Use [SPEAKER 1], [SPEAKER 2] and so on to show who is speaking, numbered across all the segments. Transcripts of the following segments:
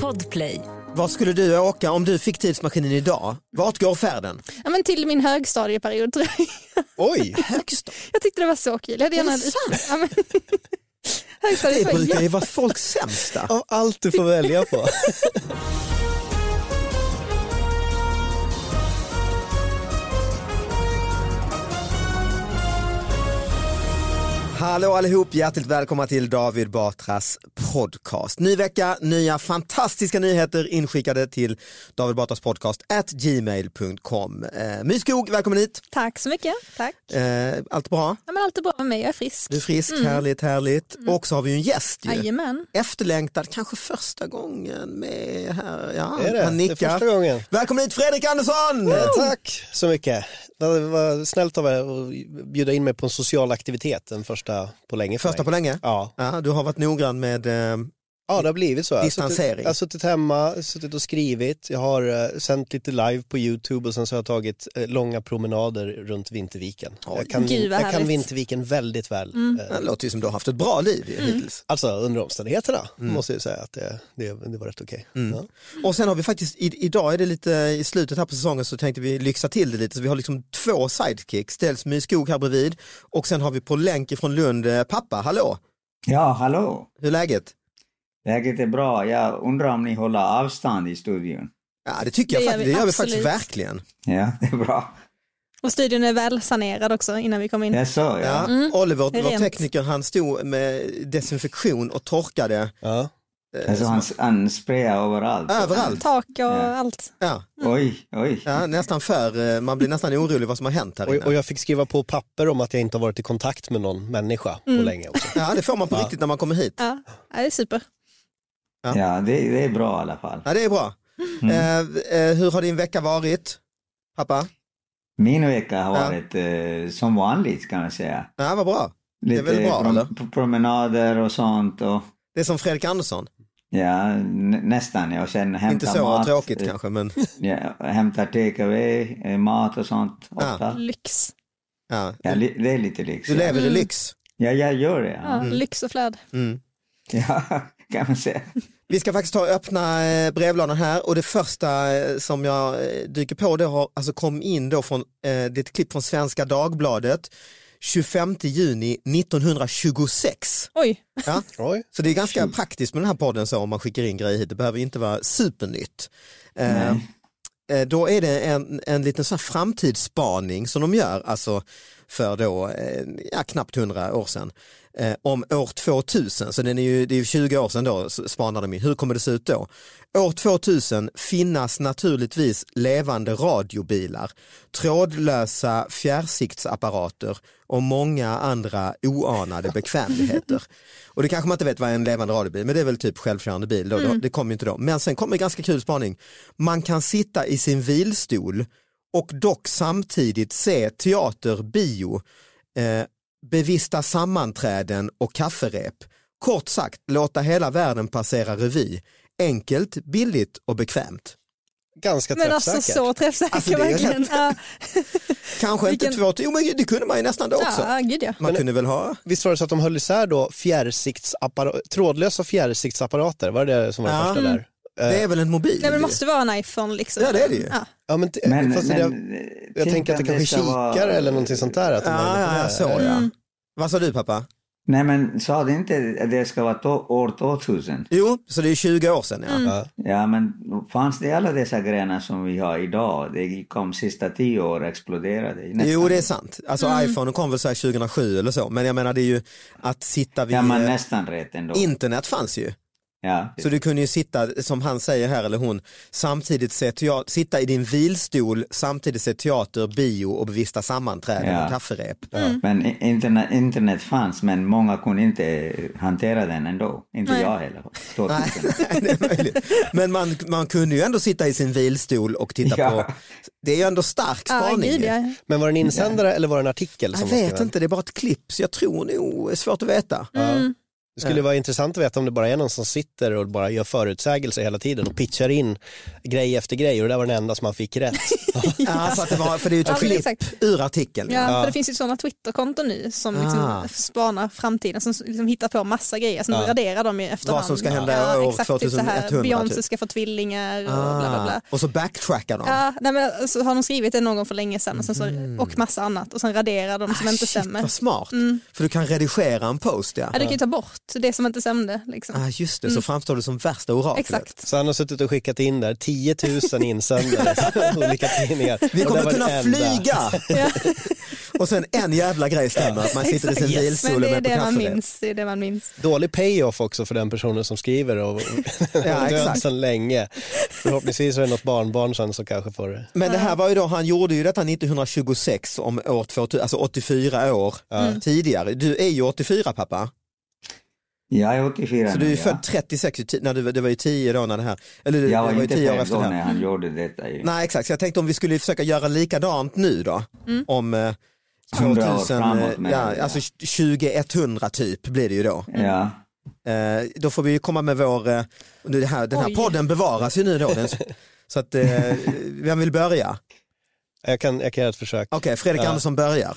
[SPEAKER 1] Podplay.
[SPEAKER 2] Vad skulle du åka om du fick tidsmaskinen idag? Vart går färden?
[SPEAKER 3] Ja, men till min högstadieperiod tror jag.
[SPEAKER 4] Oj!
[SPEAKER 2] Högst.
[SPEAKER 3] Jag tyckte det var så kul. Jag hade gärna... Ja, men...
[SPEAKER 2] Det
[SPEAKER 3] Högstadiet var
[SPEAKER 2] brukar
[SPEAKER 3] jätte-
[SPEAKER 2] ju vara folks sämsta.
[SPEAKER 4] Av allt du får välja på.
[SPEAKER 2] Hallå allihop, hjärtligt välkomna till David Batras podcast. Ny vecka, nya fantastiska nyheter inskickade till David Batras podcast at gmail.com. Eh, My Skog, välkommen hit.
[SPEAKER 3] Tack så mycket. Tack.
[SPEAKER 2] Eh, allt bra?
[SPEAKER 3] Ja, men allt är bra med mig, jag är frisk.
[SPEAKER 2] Du är frisk,
[SPEAKER 3] Mm.
[SPEAKER 2] härligt, härligt. Och så har vi ju en gäst ju.
[SPEAKER 3] Jajamän.
[SPEAKER 2] Efterlängtad, kanske första gången med här. Ja,
[SPEAKER 4] Är det?
[SPEAKER 2] han
[SPEAKER 4] Det är
[SPEAKER 2] nickar.
[SPEAKER 4] första gången.
[SPEAKER 2] Välkommen hit Fredrik Andersson!
[SPEAKER 4] Tack så mycket. Det var snällt av er att bjuda in mig på en social aktivitet, den första på länge för
[SPEAKER 2] Första
[SPEAKER 4] mig.
[SPEAKER 2] på länge?
[SPEAKER 4] Ja.
[SPEAKER 2] Ja, du har varit noggrann med eh,
[SPEAKER 4] ja, det har blivit så. Jag har suttit-
[SPEAKER 2] Distansering.
[SPEAKER 4] Jag har suttit hemma, suttit och skrivit, jag har eh, sänt lite live på YouTube och sen så har jag tagit eh, långa promenader runt Vinterviken. Jag kan,
[SPEAKER 3] Gud, vad
[SPEAKER 4] jag kan
[SPEAKER 3] härligt.
[SPEAKER 4] Vinterviken väldigt väl. eh,
[SPEAKER 2] det låter ju som du har haft ett bra liv
[SPEAKER 3] Mm.
[SPEAKER 2] ju hittills.
[SPEAKER 4] Alltså under omständigheterna måste jag ju säga att det, det, det var rätt okej. Ja.
[SPEAKER 2] Och sen har vi faktiskt, i, idag är det lite i slutet här på säsongen så tänkte vi lyxa till det lite så vi har liksom två sidekicks, dels My Skog här bredvid och sen har vi på länk från Lund, eh, pappa, hallå,
[SPEAKER 5] Ja, hallå!
[SPEAKER 2] hur är läget?
[SPEAKER 5] Läget är bra. Jag undrar om ni håller avstånd i studion?
[SPEAKER 2] Ja det tycker jag
[SPEAKER 3] Det gör
[SPEAKER 2] faktiskt,
[SPEAKER 3] vi
[SPEAKER 2] det gör vi
[SPEAKER 3] absolut.
[SPEAKER 2] faktiskt verkligen.
[SPEAKER 5] Ja, det är bra.
[SPEAKER 3] Och studion är väl sanerad också innan vi kom in.
[SPEAKER 5] Jag sa
[SPEAKER 2] Ja,
[SPEAKER 5] ja.
[SPEAKER 2] Oliver,
[SPEAKER 3] det är
[SPEAKER 2] vår
[SPEAKER 3] Mm. rent.
[SPEAKER 2] tekniker, han stod med desinfektion och torkade
[SPEAKER 4] Ja.
[SPEAKER 2] eh,
[SPEAKER 5] Alltså han, han sprayar överallt.
[SPEAKER 2] överallt.
[SPEAKER 3] Tak och
[SPEAKER 5] Ja.
[SPEAKER 3] allt.
[SPEAKER 2] Ja,
[SPEAKER 5] Oj, oj.
[SPEAKER 2] ja, nästan för, eh, man blir nästan orolig vad som har hänt här
[SPEAKER 4] Och, och
[SPEAKER 2] inne.
[SPEAKER 4] jag fick skriva på papper om att jag inte har varit i kontakt med någon människa på länge också.
[SPEAKER 2] Ja det får man på riktigt när man kommer hit.
[SPEAKER 3] Ja, ja, det är super.
[SPEAKER 2] Ja.
[SPEAKER 5] Ja, det, det är bra i alla fall.
[SPEAKER 2] Ja det är bra.
[SPEAKER 5] Mm.
[SPEAKER 2] Eh, eh, hur har din vecka varit? Pappa?
[SPEAKER 5] Min vecka har
[SPEAKER 2] Ja.
[SPEAKER 5] varit eh, som vanligt kan man säga.
[SPEAKER 2] Ja vad bra. är
[SPEAKER 5] Lite
[SPEAKER 2] väl bra,
[SPEAKER 5] prom-
[SPEAKER 2] eller?
[SPEAKER 5] p- promenader och sånt. Och,
[SPEAKER 2] Det är som Fredrik Andersson.
[SPEAKER 5] ja, nä- nästan. Jag sen hämtar
[SPEAKER 2] Inte så
[SPEAKER 5] mat.
[SPEAKER 2] tråkigt
[SPEAKER 5] eh,
[SPEAKER 2] kanske men
[SPEAKER 5] Ja, hämtar take away, eh, mat och sånt.
[SPEAKER 2] Ja.
[SPEAKER 5] Ofta.
[SPEAKER 3] Lyx.
[SPEAKER 2] ja.
[SPEAKER 5] Ja, li- det är lite lyx.
[SPEAKER 2] Du lever i
[SPEAKER 3] Mm.
[SPEAKER 2] lyx.
[SPEAKER 5] Ja, jag gör det.
[SPEAKER 3] Ja,
[SPEAKER 5] Ja.
[SPEAKER 3] Lyx och flöd.
[SPEAKER 2] Mm.
[SPEAKER 5] ja, kan man säga.
[SPEAKER 2] Vi ska faktiskt ta och öppna eh, brevlådan här och det första eh, som jag eh, dyker på det har alltså kom in då från, eh, det är ett klipp från Svenska Dagbladet 25 juni 1926.
[SPEAKER 3] Oj,
[SPEAKER 2] Ja.
[SPEAKER 4] Oj.
[SPEAKER 2] Så det är ganska praktiskt med den här podden så om man skickar in grejer hit, det behöver inte vara supernytt. Eh,
[SPEAKER 5] Nej.
[SPEAKER 2] eh, då är det en, en liten sån här framtidsspaning som de gör, alltså för då, eh, ja, knappt 100 år sedan, eh, om år 2000, så den är ju, det är ju 20 år sedan då s- spanar de ju, hur kommer det se ut då? År 2000 finnas naturligtvis levande radiobilar, trådlösa fjärrsiktsapparater och många andra oanade bekvämligheter. Och det kanske man inte vet vad en levande radiobil, men det är väl typ självkörande bil, då, då, det kommer ju inte då. Men sen kommer en ganska kul spaning, man kan sitta i sin vilstol och dock samtidigt se teater, bio, eh, bevista sammanträden och kafferep. Kort sagt, låta hela världen passera revy. Enkelt, billigt och bekvämt.
[SPEAKER 4] Ganska
[SPEAKER 3] men
[SPEAKER 4] träffsäkert.
[SPEAKER 3] alltså så träffsäker
[SPEAKER 2] Alltså, det är
[SPEAKER 3] verkligen. Ja,
[SPEAKER 2] Kanske inte
[SPEAKER 3] Vilken-
[SPEAKER 2] två, jo men det kunde man ju nästan då också.
[SPEAKER 3] ja, gud ja.
[SPEAKER 2] Man
[SPEAKER 4] Men-
[SPEAKER 2] kunde väl ha, eh,
[SPEAKER 4] Visst var det så att de höll isär då fjärrsiktsappara- trådlösa fjärrsiktsapparater, var det det som var det
[SPEAKER 2] Ja.
[SPEAKER 4] första där? Eh,
[SPEAKER 2] det är väl en mobil?
[SPEAKER 3] Nej, men det måste vara en iPhone liksom.
[SPEAKER 2] Ja, det är det ju.
[SPEAKER 3] Ja.
[SPEAKER 4] Ja, men, det-
[SPEAKER 5] Men,
[SPEAKER 4] Eh, fast
[SPEAKER 5] men,
[SPEAKER 4] jag, jag
[SPEAKER 5] tänk
[SPEAKER 4] tänker att det
[SPEAKER 5] om
[SPEAKER 4] kanske är
[SPEAKER 5] ska vara-
[SPEAKER 4] kikare eller någonting sånt där. Att de har
[SPEAKER 2] Ja,
[SPEAKER 4] lite
[SPEAKER 2] ja,
[SPEAKER 4] där.
[SPEAKER 2] så ja.
[SPEAKER 3] Mm.
[SPEAKER 2] Vad sa du pappa?
[SPEAKER 5] Nej men sa du inte att det ska vara to- år 2000?
[SPEAKER 2] Jo, så det är 20 år sedan
[SPEAKER 3] Mm.
[SPEAKER 2] ja.
[SPEAKER 4] Ja.
[SPEAKER 5] Ja men fanns det alla dessa grenar som vi har idag? Det kom sista tio år exploderade. Nästan.
[SPEAKER 2] Jo det är sant, alltså
[SPEAKER 3] Mm.
[SPEAKER 2] iPhone kom väl så här 2007 eller så, men jag menar det är ju att sitta vid,
[SPEAKER 5] Ja men
[SPEAKER 2] eh,
[SPEAKER 5] nästan rätt ändå.
[SPEAKER 2] internet fanns ju.
[SPEAKER 5] ja.
[SPEAKER 2] Så du kunde ju sitta, som han säger här eller hon, samtidigt se teater, sitta i din vilstol, samtidigt se teater, bio och bevista sammanträden
[SPEAKER 5] Ja.
[SPEAKER 2] och kafferep.
[SPEAKER 3] Mm.
[SPEAKER 5] Men i- internet, internet fanns men många kunde inte hantera den ändå. Inte jag heller. 2000.
[SPEAKER 2] det är möjligt. Men man, man kunde ju ändå sitta i sin vilstol och titta
[SPEAKER 5] Ja.
[SPEAKER 2] på, det är ju ändå stark
[SPEAKER 3] Ja,
[SPEAKER 2] spaning.
[SPEAKER 3] gud
[SPEAKER 2] ju.
[SPEAKER 3] ja.
[SPEAKER 4] Men var det en insändare eller var det en artikel?
[SPEAKER 2] Mm. jag
[SPEAKER 4] Som
[SPEAKER 2] vet
[SPEAKER 4] var skriven?
[SPEAKER 2] inte, det är bara ett klipp så jag tror nog, det är svårt att veta.
[SPEAKER 4] Det skulle vara intressant att veta om det bara är någon som sitter och bara gör förutsägelser hela tiden och pitchar in grej efter grej och det där var den enda som man fick rätt.
[SPEAKER 2] Ja, för, att det var, för det är ju
[SPEAKER 3] Ja,
[SPEAKER 2] ett
[SPEAKER 3] men
[SPEAKER 2] klipp
[SPEAKER 3] exakt.
[SPEAKER 2] ur artikeln.
[SPEAKER 3] Ja, för det finns ju sådana Twitterkonton nu som
[SPEAKER 2] Ah.
[SPEAKER 3] liksom spanar framtiden, som liksom hittar på massa grejer, sen
[SPEAKER 4] Ja.
[SPEAKER 3] raderar de i efterhand.
[SPEAKER 2] Vad som ska hända år
[SPEAKER 3] exakt, typ så här,
[SPEAKER 2] 2100,
[SPEAKER 3] Beyoncé
[SPEAKER 2] typ.
[SPEAKER 3] ska få tvillingar och bla bla
[SPEAKER 2] Ah,
[SPEAKER 3] bla.
[SPEAKER 2] och så backtrackar de.
[SPEAKER 3] Ja, nej, men så har de skrivit det någon gång för länge sedan och, sen så, och massa annat och sen raderar de som inte
[SPEAKER 2] Mm. Ah, Shit
[SPEAKER 3] stämmer. Mm.
[SPEAKER 2] vad smart, för du kan redigera en post ja.
[SPEAKER 3] Ja, du kan ju ta bort det som inte stämde. Liksom.
[SPEAKER 2] Ah, just det, så framstår du som värsta oraklet.
[SPEAKER 3] Exakt.
[SPEAKER 4] Så han har suttit och skickat in där 10 000 insändare olika tidningar.
[SPEAKER 2] Vi
[SPEAKER 4] Och det
[SPEAKER 2] kommer
[SPEAKER 4] var
[SPEAKER 2] kunna
[SPEAKER 4] den enda.
[SPEAKER 2] flyga! och sen en jävla grej stämmer, att man sitter i sin
[SPEAKER 3] Exakt.
[SPEAKER 2] bilstol
[SPEAKER 3] Men
[SPEAKER 2] och
[SPEAKER 3] det är
[SPEAKER 2] med på
[SPEAKER 3] det man
[SPEAKER 2] kaffe.
[SPEAKER 3] minns. Det är det man minns.
[SPEAKER 4] Dålig payoff också för den personen som skriver och
[SPEAKER 2] Ja,
[SPEAKER 4] ja, död
[SPEAKER 2] exakt.
[SPEAKER 4] sedan länge. Förhoppningsvis är det något barnbarn sen som kanske får det.
[SPEAKER 2] Men det här var ju då, han gjorde ju detta 1926 om år 2000, alltså 84 år eh, tidigare. Du är ju 84 pappa,
[SPEAKER 5] Jag är 84
[SPEAKER 2] så du är
[SPEAKER 5] nu,
[SPEAKER 2] ju
[SPEAKER 5] ja.
[SPEAKER 2] född 36, ju ti- när du, det var ju 10 då när det här, eller det
[SPEAKER 5] Jag
[SPEAKER 2] var
[SPEAKER 5] var
[SPEAKER 2] ju
[SPEAKER 5] inte
[SPEAKER 2] 10 år
[SPEAKER 5] född
[SPEAKER 2] efter
[SPEAKER 5] då
[SPEAKER 2] det här.
[SPEAKER 5] när han gjorde detta. Ju.
[SPEAKER 2] Nej exakt, så jag tänkte om vi skulle försöka göra likadant nu då. Om eh,
[SPEAKER 5] 100 år
[SPEAKER 2] 2000,
[SPEAKER 5] framåt
[SPEAKER 2] eh,
[SPEAKER 5] menar
[SPEAKER 2] ja,
[SPEAKER 5] du, ja.
[SPEAKER 2] alltså 2100 typ blir det ju då.
[SPEAKER 5] Ja.
[SPEAKER 2] Eh, då får vi ju komma med vår, eh, nu det här, den här
[SPEAKER 3] Oj.
[SPEAKER 2] podden bevaras ju nu då. Den, så att, eh, vem vill börja? Okej,
[SPEAKER 4] Jag kan, jag kan göra ett försök.
[SPEAKER 2] Fredrik
[SPEAKER 4] Ja.
[SPEAKER 2] Andersson börjar.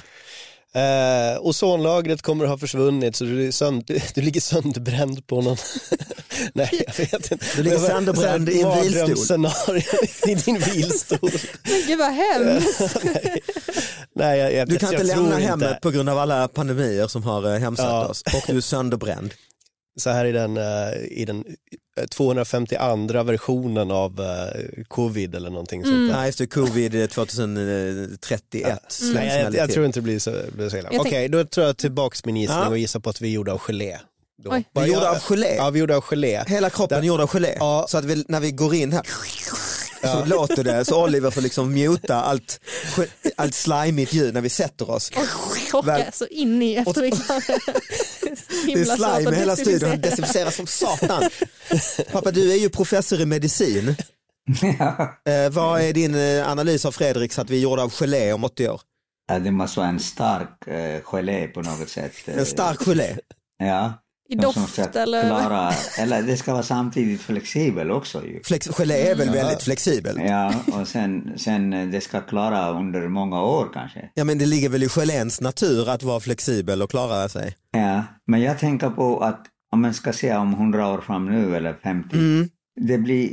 [SPEAKER 4] Eh, ozonlagret kommer att ha försvunnit så du, är sönd- du, du ligger sönderbränd på någon... Nej, jag vet inte.
[SPEAKER 2] Du ligger
[SPEAKER 4] Det var
[SPEAKER 2] sönderbränd
[SPEAKER 4] så här
[SPEAKER 2] i en bilstol.
[SPEAKER 4] mardrömsscenario i din bilstol.
[SPEAKER 3] Men Gud vad hemskt.
[SPEAKER 4] Nej, jag, jag,
[SPEAKER 2] Du kan
[SPEAKER 4] jag
[SPEAKER 2] inte
[SPEAKER 4] tror
[SPEAKER 2] lämna hemmet på grund av alla pandemier som har eh, hemsatt
[SPEAKER 4] Ja.
[SPEAKER 2] oss och du är sönderbränd.
[SPEAKER 4] Så här i den, eh, i den eh, 252 versionen av eh, covid eller någonting sånt där.
[SPEAKER 2] Nej, just det, covid 2031. Mm.
[SPEAKER 4] Nej, jag, jag, tror inte det blir så, blir så illa. Okej,
[SPEAKER 3] tänk-
[SPEAKER 4] då tror jag tillbaks min gissning
[SPEAKER 2] Ja.
[SPEAKER 4] och gissar på att vi gjorde av gelé. Då.
[SPEAKER 3] Oj.
[SPEAKER 2] Vi
[SPEAKER 4] Bara
[SPEAKER 2] gjorde
[SPEAKER 4] jag-
[SPEAKER 2] av gelé. Mm.
[SPEAKER 4] Ja, vi gjorde av gelé.
[SPEAKER 2] Hela kroppen gjord av gelé.
[SPEAKER 4] Ja.
[SPEAKER 2] Så att vi, när vi går in här så låter det, så Oliver får liksom muta allt, ge- allt slimigt ljud när vi sätter oss. Väl-
[SPEAKER 3] Torka så in i efter vi är klara.
[SPEAKER 2] Det är
[SPEAKER 3] Himla svårt
[SPEAKER 2] slime
[SPEAKER 3] att
[SPEAKER 2] i hela studion, det
[SPEAKER 3] desinficera.
[SPEAKER 2] desinficeras som satan. Pappa, du är ju professor i medicin. Eh, vad är din eh, analys av Fredriks att vi är gjorda av gelé om 80 år?
[SPEAKER 5] ja, det måste vara en stark eh, gelé på något sätt. eh,
[SPEAKER 2] En stark gelé.
[SPEAKER 5] Ja.
[SPEAKER 3] I
[SPEAKER 5] De som ska
[SPEAKER 3] doft eller?
[SPEAKER 5] Klara, eller det ska vara samtidigt flexibel också ju.
[SPEAKER 2] Flex, gelé är väl väldigt flexibelt?
[SPEAKER 5] Ja, och sen, sen eh, det ska klara under många år kanske.
[SPEAKER 2] Ja men det ligger väl i geléns natur att vara flexibel och klara sig.
[SPEAKER 5] Ja, men jag tänker på att om man ska se om 100 år fram nu eller 50,
[SPEAKER 2] Mm.
[SPEAKER 5] det blir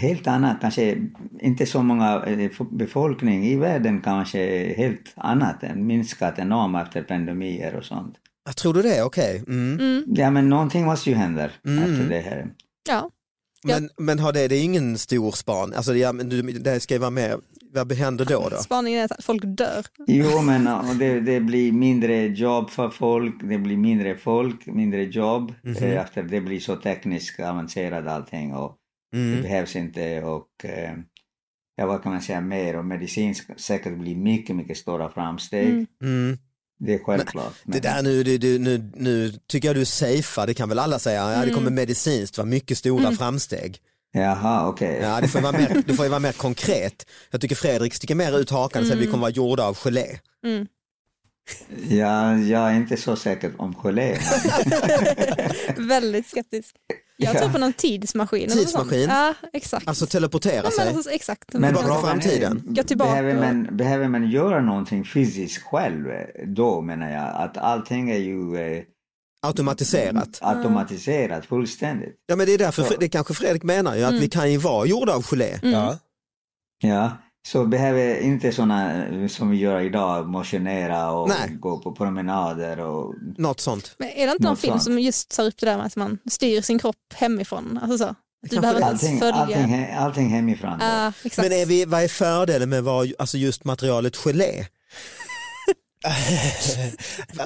[SPEAKER 5] helt annat, kanske inte så många eh, f- befolkning i världen kanske helt annat, än minskat enormt efter pandemier och sånt.
[SPEAKER 3] Mm.
[SPEAKER 2] Ah, Tror du det? Okej. Mm.
[SPEAKER 5] Ja, men någonting måste ju hända efter det här.
[SPEAKER 3] Ja.
[SPEAKER 2] Men, men har det, det är ingen stor span, alltså, ja, men du, det här ska ju vara med, vad händer då? då?
[SPEAKER 3] Spaningen är att folk dör.
[SPEAKER 5] Jo, men eh, det, det blir mindre jobb för folk, det blir mindre folk, mindre jobb.
[SPEAKER 2] Mhm.
[SPEAKER 5] eh, Efter det blir så tekniskt avancerat allting och det
[SPEAKER 2] Mm.
[SPEAKER 5] behövs inte och eh, ja, vad kan man säga mer och medicin ska säkert bli mycket, mycket stora framsteg.
[SPEAKER 2] Mm.
[SPEAKER 5] Det är självklart.
[SPEAKER 2] Det där nu, det, det, nu, nu tycker jag du safear, det kan väl alla säga, ja, det
[SPEAKER 3] Mm.
[SPEAKER 2] kommer medicinskt vara mycket stora framsteg.
[SPEAKER 5] Jaha, okej.
[SPEAKER 2] Ja, det, får ju vara mer, det får ju vara mer konkret. Jag tycker Fredrik sticker mer ut hakan och säger att vi
[SPEAKER 3] Mm.
[SPEAKER 2] kommer vara gjorda av gelé.
[SPEAKER 5] Ja, jag är inte så säker om gelé.
[SPEAKER 3] Väldigt skeptisk. Jag tror på någon tidsmaskin. eller något sånt.
[SPEAKER 2] Tidsmaskin?
[SPEAKER 3] Ja, exakt.
[SPEAKER 2] Alltså teleportera
[SPEAKER 3] ja, men
[SPEAKER 2] sig.
[SPEAKER 3] alltså, exakt.
[SPEAKER 5] Men
[SPEAKER 2] Tillbaka till
[SPEAKER 5] frågan är,
[SPEAKER 2] framtiden.
[SPEAKER 3] Gå tillbaka.
[SPEAKER 5] Behöver man, behöver man göra någonting fysiskt själv eh, då menar jag att allting är ju eh,
[SPEAKER 2] Automatiserat.
[SPEAKER 5] Mm. automatiserat fullständigt.
[SPEAKER 2] Ja men det är därför, Fre- det kanske Fredrik menar ju, att vi kan ju vara gjorda av gelé.
[SPEAKER 4] Ja.
[SPEAKER 5] Ja, så behöver inte sådana som vi gör idag, motionera och
[SPEAKER 2] Nej.
[SPEAKER 5] gå på promenader och
[SPEAKER 2] Något sånt.
[SPEAKER 3] Men är det inte någon
[SPEAKER 5] Något
[SPEAKER 3] film
[SPEAKER 5] sånt.
[SPEAKER 3] som just tar upp det där med att man styr sin kropp hemifrån? Alltså så. Att Du behöver inte ens
[SPEAKER 5] allting,
[SPEAKER 3] följa. Ah.
[SPEAKER 5] allting, he- allting hemifrån. då.
[SPEAKER 3] Ja, exakt.
[SPEAKER 2] Men är vi, vad är fördelen med vad, alltså just materialet gelé?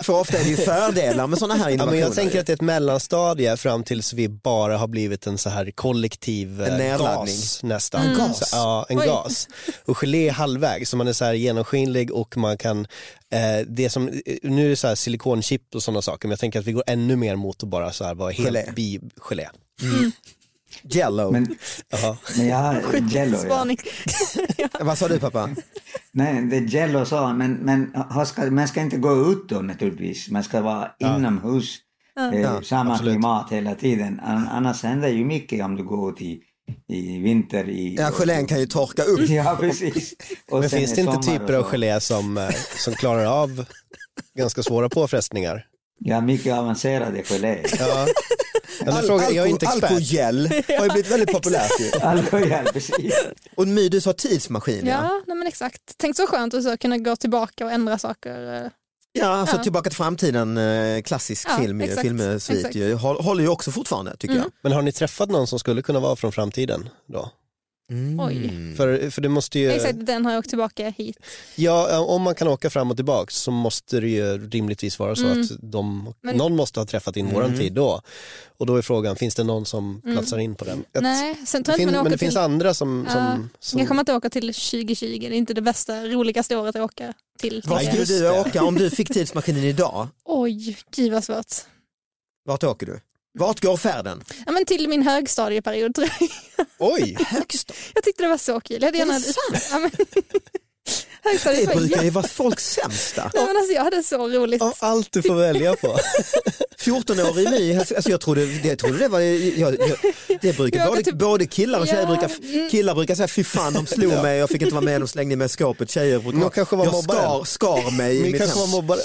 [SPEAKER 2] För ofta är det ju fördelar med sådana här
[SPEAKER 4] Ja,
[SPEAKER 2] innovationer.
[SPEAKER 4] men jag tänker att det är ett mellanstadie fram tills vi bara har blivit en så här kollektiv eh,
[SPEAKER 2] En nedladdning.
[SPEAKER 4] gas nästan.
[SPEAKER 2] En gas?
[SPEAKER 4] Så, ja, en
[SPEAKER 3] Mm. Oj.
[SPEAKER 4] gas. Och gelé är halvvägs, så man är så här genomskinlig och man kan, eh, det som, eh, nu är det så här silikonchip och sådana saker, men jag tänker att vi går ännu mer mot att bara så här vara helt
[SPEAKER 2] Gelé.
[SPEAKER 4] bi gelé.
[SPEAKER 2] Jello.
[SPEAKER 5] Men,
[SPEAKER 4] Jaha.
[SPEAKER 5] men jag har Jello, ja.
[SPEAKER 3] Spaning.
[SPEAKER 2] Vad sa du pappa?
[SPEAKER 5] Nej, det är Jello sa han, men, men ha- ska, man ska inte gå ut då naturligtvis. Man ska vara inomhus
[SPEAKER 3] Ah.
[SPEAKER 5] eh,
[SPEAKER 2] Ja,
[SPEAKER 5] samma
[SPEAKER 2] absolut.
[SPEAKER 5] klimat hela tiden. An- Annars händer ju mycket om du går ut i, i vinter. I,
[SPEAKER 2] Ja, gelén kan ju torka upp.
[SPEAKER 5] Ja, precis. Och
[SPEAKER 4] Men
[SPEAKER 5] sen
[SPEAKER 4] finns
[SPEAKER 5] i
[SPEAKER 4] det inte
[SPEAKER 5] sommar
[SPEAKER 4] typer
[SPEAKER 5] och
[SPEAKER 4] av
[SPEAKER 5] så.
[SPEAKER 4] gelé som, eh, som klarar av ganska svåra påfrestningar?
[SPEAKER 5] Ja, mycket avancerade gelé.
[SPEAKER 4] Ja. Ja, nu frågar, jag är inte expert.
[SPEAKER 2] Alkogel har ju blivit väldigt populärt ju.
[SPEAKER 5] Alkohol, precis.
[SPEAKER 2] Och My, du sa tidsmaskin ja.
[SPEAKER 3] Ja, nej men exakt. Tänk så skönt att så kunna gå tillbaka och ändra saker. eh.
[SPEAKER 2] Ja, alltså
[SPEAKER 3] Ja.
[SPEAKER 2] Tillbaka till framtiden, eh, klassisk
[SPEAKER 3] Ja,
[SPEAKER 2] film ju,
[SPEAKER 3] exakt,
[SPEAKER 2] filmsvit
[SPEAKER 3] exakt.
[SPEAKER 2] ju, Håll- håller ju också fortfarande tycker jag.
[SPEAKER 4] Men har ni träffat någon som skulle kunna vara från framtiden då?
[SPEAKER 3] Oj.
[SPEAKER 2] Mm.
[SPEAKER 4] För, för det måste ju,
[SPEAKER 3] Exakt, den har jag åkt tillbaka hit.
[SPEAKER 4] ja, eh, om man kan åka fram och tillbaks så måste det ju rimligtvis vara så
[SPEAKER 3] Mm.
[SPEAKER 4] att de,
[SPEAKER 3] Men-
[SPEAKER 4] någon måste ha träffat in våran
[SPEAKER 2] Mm.
[SPEAKER 4] tid då. Och då är frågan, finns det någon som platsar in på den? Jag-
[SPEAKER 3] Mm. Nej, sen
[SPEAKER 4] det
[SPEAKER 3] tror jag
[SPEAKER 4] fin-
[SPEAKER 3] inte man
[SPEAKER 4] men
[SPEAKER 3] åker
[SPEAKER 4] det finns
[SPEAKER 3] till...
[SPEAKER 4] andra som, som,
[SPEAKER 3] Ja,
[SPEAKER 2] alltså-
[SPEAKER 4] som
[SPEAKER 3] Kanske man inte åker till 2020, det är inte det bästa, roligaste året att åka till.
[SPEAKER 2] Var
[SPEAKER 4] Ja,
[SPEAKER 2] skulle
[SPEAKER 4] just
[SPEAKER 2] du
[SPEAKER 4] det.
[SPEAKER 2] åka om du fick tidsmaskinen idag?
[SPEAKER 3] Oj, gud vad svårt.
[SPEAKER 2] Vart åker du? Vart går färden?
[SPEAKER 3] Ja, men till min högstadieperiod tror jag.
[SPEAKER 4] Oj,
[SPEAKER 2] Högst
[SPEAKER 3] Jag tyckte det var så kul. Jag hade
[SPEAKER 2] Är det
[SPEAKER 3] gärna... Ja, men...
[SPEAKER 2] Det
[SPEAKER 3] Högstadiet var
[SPEAKER 2] brukar
[SPEAKER 3] jätte-
[SPEAKER 2] ju vara folks sämsta.
[SPEAKER 3] Nej, men alltså, jag hade så roligt.
[SPEAKER 4] av allt du får välja på.
[SPEAKER 2] 14-årig My, alltså jag trodde, jag trodde det var, jag, jag, det brukar,
[SPEAKER 3] Jag
[SPEAKER 2] både,
[SPEAKER 3] typ-
[SPEAKER 2] både killar och tjejer
[SPEAKER 3] Ja, mm.
[SPEAKER 2] brukar, killar brukar säga fy fan de slog mig, jag fick inte vara med, de slängde mig i skåpet, tjejer brukar,
[SPEAKER 4] Men de kanske var
[SPEAKER 2] jag skar,
[SPEAKER 4] mobbaren.
[SPEAKER 2] skar mig i
[SPEAKER 4] Ni
[SPEAKER 2] mitt
[SPEAKER 4] kanske var
[SPEAKER 2] hem.
[SPEAKER 4] mobbare.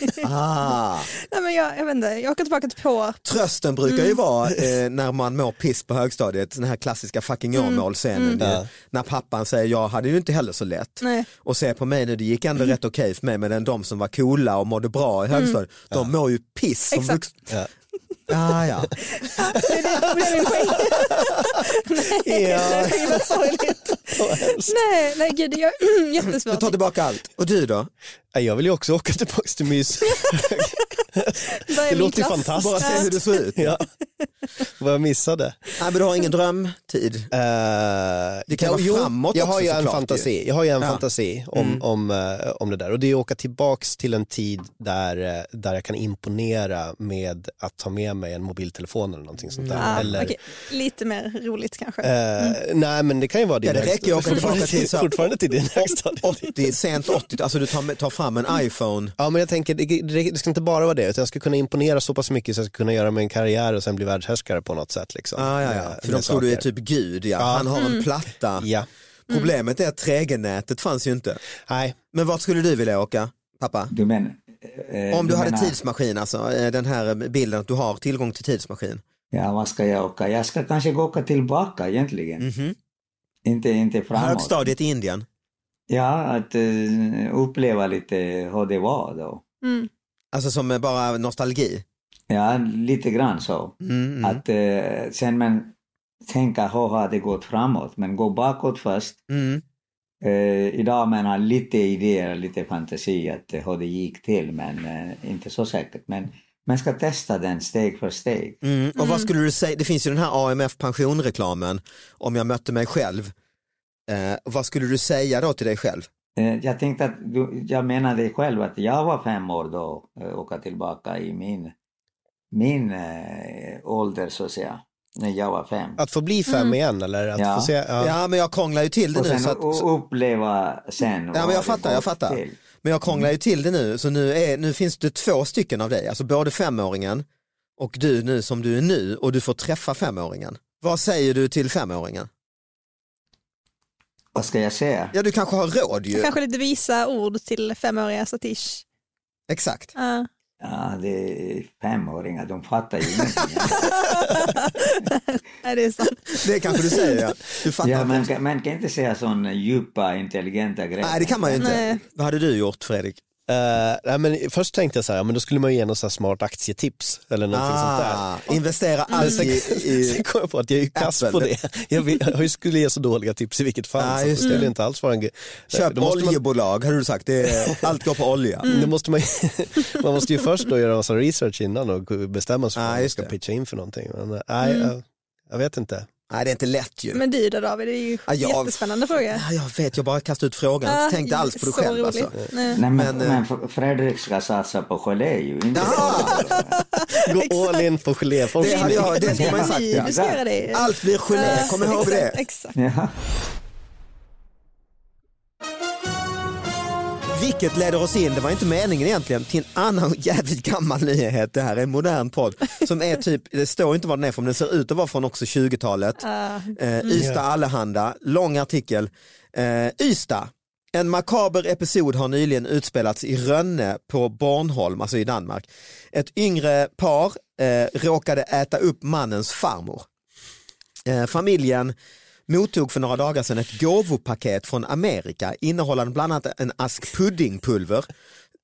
[SPEAKER 2] Ah,
[SPEAKER 3] Nej, men jag, jag, vet inte, jag åker tillbaka till Påarp.
[SPEAKER 2] trösten brukar
[SPEAKER 3] Mm.
[SPEAKER 2] ju vara eh, när man mår piss på högstadiet, den här klassiska fucking
[SPEAKER 3] Mm.
[SPEAKER 2] Åmål-scenen ju.
[SPEAKER 4] Ja.
[SPEAKER 2] när pappan säger jag hade ju inte heller så lätt.
[SPEAKER 3] Nej. Mm.
[SPEAKER 2] Och se på mig nu, det gick ändå rätt okej för mig men de som var coola och mådde bra i högstadiet, de mår ju piss som
[SPEAKER 3] Exakt.
[SPEAKER 2] vuxna.
[SPEAKER 4] Ja.
[SPEAKER 2] Ah, ja.
[SPEAKER 3] Det är det- det är min poäng. Nej,
[SPEAKER 4] Ja.
[SPEAKER 3] det är vad sorgligt. Nej, nej gud, jag
[SPEAKER 2] Jag tar
[SPEAKER 3] jättesvårt.
[SPEAKER 2] tillbaka allt. Och du då?
[SPEAKER 4] Nej, Jag vill ju också åka tillbaks till mys.
[SPEAKER 3] Börja
[SPEAKER 4] det
[SPEAKER 3] min
[SPEAKER 4] låter ju
[SPEAKER 3] klass.
[SPEAKER 4] fantastiskt.
[SPEAKER 2] Bara se hur det ser ut.
[SPEAKER 4] Ja. Vad jag missade.
[SPEAKER 2] Nej, men du har ingen drömtid.
[SPEAKER 4] Eh,
[SPEAKER 2] Det kan vara framåt
[SPEAKER 4] jag har
[SPEAKER 2] också
[SPEAKER 4] ju en
[SPEAKER 2] såklart
[SPEAKER 4] fantasi, Jag har ju en
[SPEAKER 2] Ja. Mm.
[SPEAKER 4] fantasi om, om, eh, om det där och det är att åka tillbaks till en tid där, eh, där jag kan imponera med att ta med mig en mobiltelefon eller någonting sånt
[SPEAKER 2] Mm.
[SPEAKER 4] där.
[SPEAKER 3] Ja,
[SPEAKER 4] eller,
[SPEAKER 3] okej. Lite mer roligt kanske.
[SPEAKER 4] eh, Nej men det kan ju vara din
[SPEAKER 2] Ja, det
[SPEAKER 4] högsta-
[SPEAKER 2] räcker ju att åka tillbaka
[SPEAKER 4] fortfarande
[SPEAKER 2] till så-
[SPEAKER 4] Fortfarande till din högstadie.
[SPEAKER 2] 80, sent 80, alltså du tar, tar fram en
[SPEAKER 4] Mm.
[SPEAKER 2] iPhone.
[SPEAKER 4] Ja men jag tänker, det, det, det ska inte bara vara det utan jag ska kunna imponera så pass mycket så jag ska kunna göra mig en karriär och sen bli världshärskare på något sätt. Liksom,
[SPEAKER 2] Ah, ja,
[SPEAKER 4] Med-
[SPEAKER 2] ja. För de
[SPEAKER 4] med
[SPEAKER 2] tror du är
[SPEAKER 4] saker.
[SPEAKER 2] typ gud, ja. han har
[SPEAKER 3] Mm.
[SPEAKER 2] en platta.
[SPEAKER 4] Ja,
[SPEAKER 5] Mm.
[SPEAKER 2] Problemet är att 3G-nätet fanns ju inte.
[SPEAKER 4] nej.
[SPEAKER 2] Men vart skulle du vilja åka, pappa?
[SPEAKER 5] Du men, eh,
[SPEAKER 2] Om du hade
[SPEAKER 5] menar-
[SPEAKER 2] tidsmaskin, alltså eh, den här bilden att du har tillgång till tidsmaskin.
[SPEAKER 5] Ja, vad ska jag åka? Jag ska kanske gå åka tillbaka egentligen.
[SPEAKER 2] Mm. Mhm.
[SPEAKER 5] Inte, inte framåt.
[SPEAKER 2] Högstadiet i Indien.
[SPEAKER 5] Ja, att eh, uppleva lite hur det var då.
[SPEAKER 3] Mm.
[SPEAKER 2] Alltså som eh, bara nostalgi.
[SPEAKER 5] Ja, lite grann så.
[SPEAKER 2] Mm, mm,
[SPEAKER 5] Att eh, sen men tänka hur har det gått framåt? Men gå bakåt först.
[SPEAKER 2] mm.
[SPEAKER 5] Eh, idag man har lite idéer, lite fantasi att eh, hur det gick till, men eh, inte så säkert. Men man ska testa den steg för steg.
[SPEAKER 2] Mm. Och vad skulle du säga, det finns ju den här AMF pensionreklamen, om jag mötte mig själv. Eh, vad skulle du säga då till dig själv?
[SPEAKER 5] Eh, jag tänkte att du, jag menade själv att jag var fem år då, eh, åka tillbaka i min, min eh, ålder så att säga, när jag var fem.
[SPEAKER 4] Att få bli fem igen eller att
[SPEAKER 5] Ja.
[SPEAKER 4] få se. ja.
[SPEAKER 2] Mm. Ja men jag krånglar ju till det
[SPEAKER 5] Och
[SPEAKER 2] nu. Så
[SPEAKER 5] sen
[SPEAKER 2] att,
[SPEAKER 5] o- uppleva sen.
[SPEAKER 2] ja,
[SPEAKER 5] vad
[SPEAKER 2] men
[SPEAKER 5] det
[SPEAKER 2] jag fattar,
[SPEAKER 5] gått
[SPEAKER 2] jag fattar.
[SPEAKER 5] till.
[SPEAKER 2] Men jag krånglar ju till det nu så nu, är, nu finns det två stycken av dig, alltså både femåringen och du nu som du är nu och du får träffa femåringen. Vad säger du till femåringen?
[SPEAKER 5] Vad ska jag säga?
[SPEAKER 2] Ja du kanske har råd ju.
[SPEAKER 3] Kanske lite visa ord till femåriga Satish.
[SPEAKER 2] Exakt.
[SPEAKER 3] Ja.
[SPEAKER 5] Ja, det är femåringar, de fattar ju ingenting.
[SPEAKER 3] Nej, det är sant.
[SPEAKER 2] Det kanske du säger ja. Du fattar
[SPEAKER 5] ja,
[SPEAKER 2] inte.
[SPEAKER 5] man, kan, man kan inte säga sådana djupa, intelligenta grejer.
[SPEAKER 2] Nej det kan man ju inte.
[SPEAKER 3] Nej.
[SPEAKER 2] Vad hade du gjort Fredrik?
[SPEAKER 4] Eh, nej, men först tänkte jag så här, ja, men då skulle man ju ge något så här smart aktietips eller någonting sånt där.
[SPEAKER 2] Ah, investera
[SPEAKER 3] Mm.
[SPEAKER 2] allt i, i...
[SPEAKER 4] Sen kom jag på att jag är ju kass
[SPEAKER 2] Apple.
[SPEAKER 4] på det. Jag, vill, jag skulle ge så dåliga tips i vilket fall.
[SPEAKER 2] Ah,
[SPEAKER 4] så det
[SPEAKER 2] just
[SPEAKER 4] skulle
[SPEAKER 2] det.
[SPEAKER 4] inte alls vara en grej.
[SPEAKER 2] Köp
[SPEAKER 4] Då måste man,
[SPEAKER 2] oljebolag, hade du sagt. Det är, allt går på olja.
[SPEAKER 3] Mm.
[SPEAKER 4] då måste man, man måste ju först då göra en massa research innan och bestämma sig
[SPEAKER 2] Ah,
[SPEAKER 4] för vad man
[SPEAKER 2] just
[SPEAKER 4] ska
[SPEAKER 2] det. Mm.
[SPEAKER 4] pitcha in för någonting. Men, eh, nej, jag, jag vet inte.
[SPEAKER 2] Nej det är inte lätt ju.
[SPEAKER 3] Men du då David, det är ju
[SPEAKER 2] Ja,
[SPEAKER 3] en
[SPEAKER 2] jag-
[SPEAKER 3] jättespännande fråga.
[SPEAKER 2] Ja,
[SPEAKER 3] Ah,
[SPEAKER 2] Jag vet, jag bara kastade ut frågan. Jag tänkte inte alls på det
[SPEAKER 3] så
[SPEAKER 2] själv. Alltså.
[SPEAKER 3] roligt. Nej.
[SPEAKER 5] Nej, men,
[SPEAKER 2] Men, eh,
[SPEAKER 5] men, F- Fredrik ska satsa på gelé ju. Inte
[SPEAKER 2] Jaha!
[SPEAKER 4] Gå all in på geléforskning.
[SPEAKER 2] Det hade jag, det
[SPEAKER 3] Men
[SPEAKER 2] skulle man ju
[SPEAKER 3] är
[SPEAKER 2] sagt.
[SPEAKER 3] ni,
[SPEAKER 2] Ja.
[SPEAKER 3] Du ska göra det.
[SPEAKER 2] Allt blir
[SPEAKER 3] Ah.
[SPEAKER 2] gelé, kom ihåg
[SPEAKER 3] exakt,
[SPEAKER 2] det.
[SPEAKER 3] Exakt.
[SPEAKER 5] ja.
[SPEAKER 2] Vilket leder oss in, det var inte meningen egentligen, till en annan jävligt gammal nyhet. Det här är en modern podd som är typ, det står inte vad den är från, men den ser ut att vara från också 20-talet.
[SPEAKER 3] Eh,
[SPEAKER 2] Eh, Ystad Allehanda, lång artikel. Eh, Ystad, en makaber episod har nyligen utspelats i Rönne på Bornholm, alltså i Danmark. Ett yngre par eh, råkade äta upp mannens farmor. Eh, familjen mottog för några dagar sedan ett gåvopaket från Amerika innehållande bland annat en ask puddingpulver.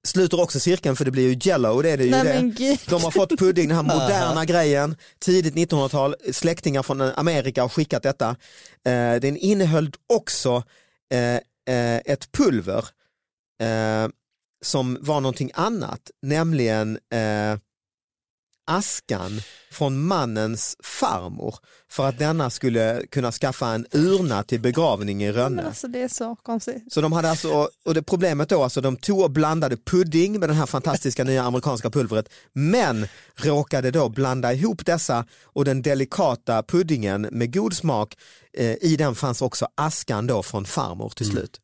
[SPEAKER 2] Sluter också cirkeln för det blir ju jello, det är det ju
[SPEAKER 3] Nej,
[SPEAKER 2] det.
[SPEAKER 3] men gud.
[SPEAKER 2] De har fått pudding, den här moderna grejen, tidigt 1900-tal, släktingar från Amerika har skickat detta. Eh, den innehöll också eh, eh, ett pulver eh, som var någonting annat, nämligen eh, askan från mannens farmor för att denna skulle kunna skaffa en urna till begravning i
[SPEAKER 3] men
[SPEAKER 2] Rönne.
[SPEAKER 3] alltså, det är så konstigt.
[SPEAKER 2] Så de hade alltså, och det problemet då, alltså de tog och blandade pudding med den här fantastiska nya amerikanska pulvret, men råkade då blanda ihop dessa och den delikata puddingen med god smak, eh, i den fanns också askan då från farmor
[SPEAKER 3] Mm.
[SPEAKER 2] till slut.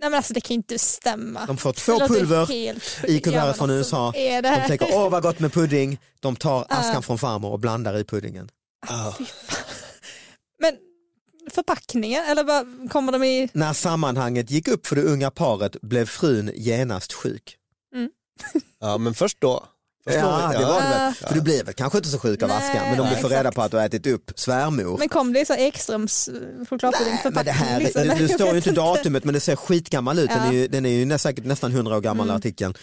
[SPEAKER 3] Nej men alltså det kan ju inte stämma.
[SPEAKER 2] De får
[SPEAKER 3] Det
[SPEAKER 2] två
[SPEAKER 3] låter
[SPEAKER 2] pulver
[SPEAKER 3] helt sjukt.
[SPEAKER 2] i
[SPEAKER 3] Ja, men
[SPEAKER 2] kuvertet från
[SPEAKER 3] alltså,
[SPEAKER 2] USA,
[SPEAKER 3] vad Är det
[SPEAKER 2] de
[SPEAKER 3] här?
[SPEAKER 2] tänker åh vad gott med pudding, de tar askan
[SPEAKER 3] Ah.
[SPEAKER 2] från farmor och blandar i puddingen. "Ah."
[SPEAKER 3] Fy fan. Men förpackningar eller vad kommer de i?
[SPEAKER 2] När sammanhanget gick upp för det unga paret blev frun genast sjuk.
[SPEAKER 4] Ja, men först då. Först
[SPEAKER 2] Ja,
[SPEAKER 4] då
[SPEAKER 2] det var det
[SPEAKER 3] Ja.
[SPEAKER 2] väl. För du blir väl kanske inte så sjuk av
[SPEAKER 3] Ah. Nej,
[SPEAKER 2] askan, men de
[SPEAKER 3] nej,
[SPEAKER 2] blir får reda
[SPEAKER 3] exakt.
[SPEAKER 2] på att du har ätit upp svärmor.
[SPEAKER 3] Men kom det i så här Ekströms eh,
[SPEAKER 2] Nej, men det här,
[SPEAKER 3] chokladpuddingförpackning?
[SPEAKER 2] det, det
[SPEAKER 3] liksom. Jag
[SPEAKER 2] står ju
[SPEAKER 3] vet
[SPEAKER 2] inte datumet men det ser skitgammal ut. Den
[SPEAKER 3] Ja.
[SPEAKER 2] är ju, den är ju nä, säkert nästan 100 år gammal artikeln.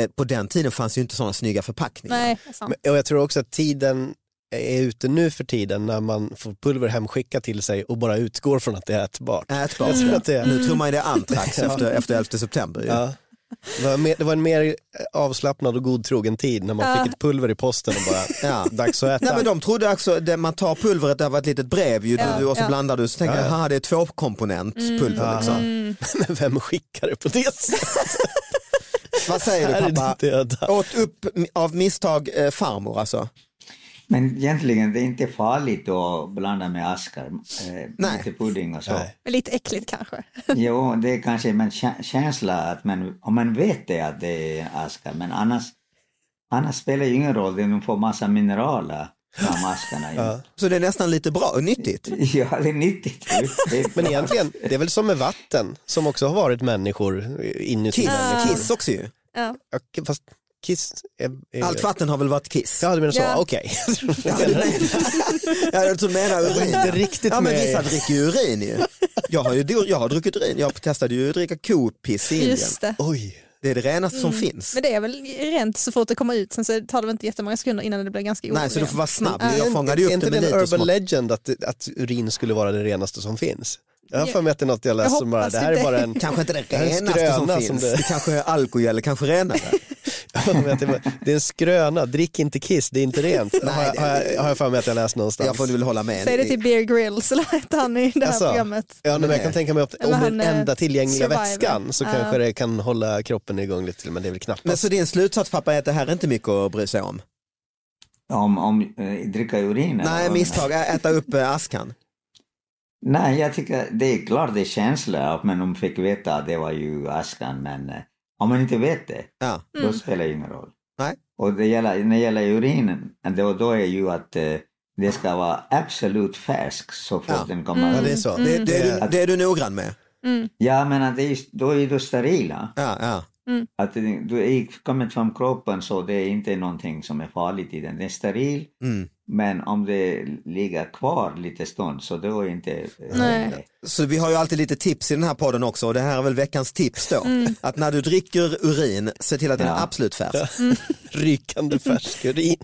[SPEAKER 2] Eh, På den tiden fanns ju inte sådana snygga förpackningar.
[SPEAKER 3] Nej, det är sant.
[SPEAKER 4] Men- Och jag tror också att tiden är ute nu för tiden när man får pulver hemskickat till sig och bara utgår från att det är ätbart.
[SPEAKER 2] Ätbart.
[SPEAKER 4] Jag tror att det är...
[SPEAKER 2] Nu tror man ju det är antrax efter, efter 11 september. Ju.
[SPEAKER 4] Ja. Det var, mer, det var en mer avslappnad och godtrogen tid när man fick ett pulver i posten och bara, "Ah,
[SPEAKER 2] Ja.
[SPEAKER 4] dags att äta.
[SPEAKER 2] Nej men de trodde också, det, man tar pulvret över ett litet brev ju,
[SPEAKER 3] Ja,
[SPEAKER 2] du- och så
[SPEAKER 3] ja.
[SPEAKER 2] blandar du så tänker
[SPEAKER 4] Ja,
[SPEAKER 2] jag,
[SPEAKER 4] ja.
[SPEAKER 2] aha det är tvåkomponentspulver
[SPEAKER 4] Mm.
[SPEAKER 2] liksom.
[SPEAKER 4] Men vem skickar det på det sättet?
[SPEAKER 2] Vad säger
[SPEAKER 4] Här är
[SPEAKER 2] du
[SPEAKER 4] det
[SPEAKER 2] pappa?
[SPEAKER 4] döda.
[SPEAKER 2] Åt upp av misstag eh, farmor alltså?
[SPEAKER 5] Men egentligen det är inte farligt att blanda med askar, eh,
[SPEAKER 2] Nej.
[SPEAKER 5] lite pudding och så.
[SPEAKER 4] Nej.
[SPEAKER 3] Men Lite äckligt kanske.
[SPEAKER 5] Jo, det är kanske men kä- känsla att man, om man vet det att det är askar, men annars, annars spelar det ju ingen roll, de får massa mineraler från askarna. ju.
[SPEAKER 2] Så det är nästan lite bra och nyttigt.
[SPEAKER 5] ja, det är nyttigt. ju. Det är
[SPEAKER 4] Men
[SPEAKER 5] bra.
[SPEAKER 4] egentligen, det är väl som med vatten som också har varit människor inuti
[SPEAKER 2] Kiss,
[SPEAKER 4] människor.
[SPEAKER 2] kiss också ju.
[SPEAKER 3] Ja.
[SPEAKER 4] Ja, Fast kiss är... är...
[SPEAKER 2] Allt vatten har väl varit kiss?
[SPEAKER 4] Ja, du menar så,
[SPEAKER 3] Ja.
[SPEAKER 4] okej.
[SPEAKER 2] Ja, jag tror du menar urin.
[SPEAKER 4] inte riktigt
[SPEAKER 2] ja, men
[SPEAKER 4] med
[SPEAKER 2] vissa
[SPEAKER 4] i-
[SPEAKER 2] dricker ju urin ju. Jag har, ju, jag har druckit urin, jag testade ju att dricka kopiss i Indien.
[SPEAKER 3] Just det. Mm.
[SPEAKER 4] Oj.
[SPEAKER 2] Det är det renaste som finns.
[SPEAKER 3] Men det är väl rent så fort det kommer ut, sen så tar det väl inte jättemånga sekunder innan det blir ganska
[SPEAKER 2] Nej, så du får vara snabb.
[SPEAKER 3] Ja.
[SPEAKER 2] Jag fångade ju upp
[SPEAKER 4] är inte
[SPEAKER 2] det med
[SPEAKER 4] det en
[SPEAKER 2] lite
[SPEAKER 4] urban
[SPEAKER 2] smått.
[SPEAKER 4] legend att, att urin skulle vara det renaste som finns? Jag har
[SPEAKER 3] Ja.
[SPEAKER 4] för mig att det är något jag läst
[SPEAKER 3] Jag
[SPEAKER 4] som bara,
[SPEAKER 3] hoppas
[SPEAKER 4] det här är
[SPEAKER 3] inte.
[SPEAKER 4] bara en...
[SPEAKER 2] Kanske inte det
[SPEAKER 4] Det här är en
[SPEAKER 2] renaste som
[SPEAKER 4] skröna
[SPEAKER 2] finns.
[SPEAKER 4] som
[SPEAKER 2] det...
[SPEAKER 4] det-
[SPEAKER 2] kanske är alkogel, kanske renare.
[SPEAKER 4] Jag har för mig att det, var, det är en skröna, drick inte kiss, det är inte rent.
[SPEAKER 2] Nej,
[SPEAKER 4] har, jag-
[SPEAKER 2] det-
[SPEAKER 4] har, jag, har jag för mig att jag läst någonstans.
[SPEAKER 2] Jag får väl hålla med.
[SPEAKER 3] Säg det till Bear Grylls eller vad heter han i det här
[SPEAKER 4] Alltså,
[SPEAKER 3] programmet.
[SPEAKER 4] Ja, men jag kan tänka mig att om
[SPEAKER 3] Men
[SPEAKER 4] det är
[SPEAKER 3] han
[SPEAKER 2] eh,
[SPEAKER 4] den
[SPEAKER 3] är
[SPEAKER 4] enda tillgängliga
[SPEAKER 3] survivor.
[SPEAKER 4] vätskan så
[SPEAKER 3] Ja.
[SPEAKER 4] kanske det kan hålla kroppen igång lite till, men det är väl knappast.
[SPEAKER 2] Men så din slutsats pappa är att det här är inte mycket att bry sig om?
[SPEAKER 5] Om, om eh, dricka urin? eller
[SPEAKER 2] Nej,
[SPEAKER 5] vad?
[SPEAKER 2] misstag, Ä- äta upp eh, askan.
[SPEAKER 5] Nej, jag tycker det är klart det är känsla, att man- de fick veta att det var ju askan, men eh, om man inte vet det,
[SPEAKER 2] Ja.
[SPEAKER 5] då spelar det ingen roll.
[SPEAKER 2] Nej.
[SPEAKER 5] Och det gäller, när det gäller urinen, då, då är ju att eh, det ska vara absolut färsk så fort
[SPEAKER 2] Ja.
[SPEAKER 5] den kommer
[SPEAKER 4] Ja,
[SPEAKER 5] ut.
[SPEAKER 4] det är så.
[SPEAKER 3] Mm.
[SPEAKER 4] Mm.
[SPEAKER 2] Det, det, är du, det är du noggrann med?
[SPEAKER 5] Ja, men att det är, just- då är du sterila.
[SPEAKER 2] Ja, ja.
[SPEAKER 5] Att det- du är kommit från kroppen så det är inte någonting som är farligt i den. Den är steril,
[SPEAKER 2] Mm.
[SPEAKER 5] men om det ligger kvar lite stund så då är det inte... eh,
[SPEAKER 3] Nej.
[SPEAKER 5] det.
[SPEAKER 2] Så vi har ju alltid lite tips i den här podden också och det här är väl veckans tips då. Att när du dricker urin, se till att den är
[SPEAKER 5] Ja.
[SPEAKER 2] absolut färsk.
[SPEAKER 4] Rykande färsk urin.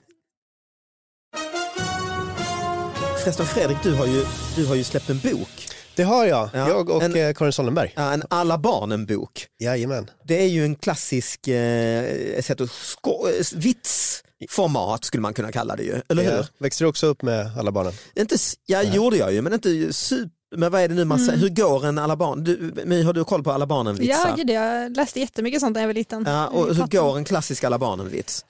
[SPEAKER 2] Förresten Fredrik, du har ju, du har ju släppt en bok.
[SPEAKER 4] Det har jag,
[SPEAKER 2] Ja,
[SPEAKER 4] jag och
[SPEAKER 2] en-
[SPEAKER 4] eh, Karin Sollenberg.
[SPEAKER 2] Ja, en Alla barnen-bok.
[SPEAKER 4] Jajamän.
[SPEAKER 2] Det är ju en klassisk eh, sätt att sko- eh, vitsformat skulle man kunna kalla det ju, eller hur?
[SPEAKER 4] Ja. Växte du också upp med alla barnen?
[SPEAKER 2] Inte, s- ja, gjorde jag ju, men inte super... Men vad är det nu man säger, hur går en Alla barn? Du, My, har du koll på Alla barnen-vitsar?
[SPEAKER 3] Ja, gud, jag läste jättemycket sånt när jag var liten.
[SPEAKER 2] Ja, och hur
[SPEAKER 3] Pappa-
[SPEAKER 2] går en klassisk Alla barnen-vits?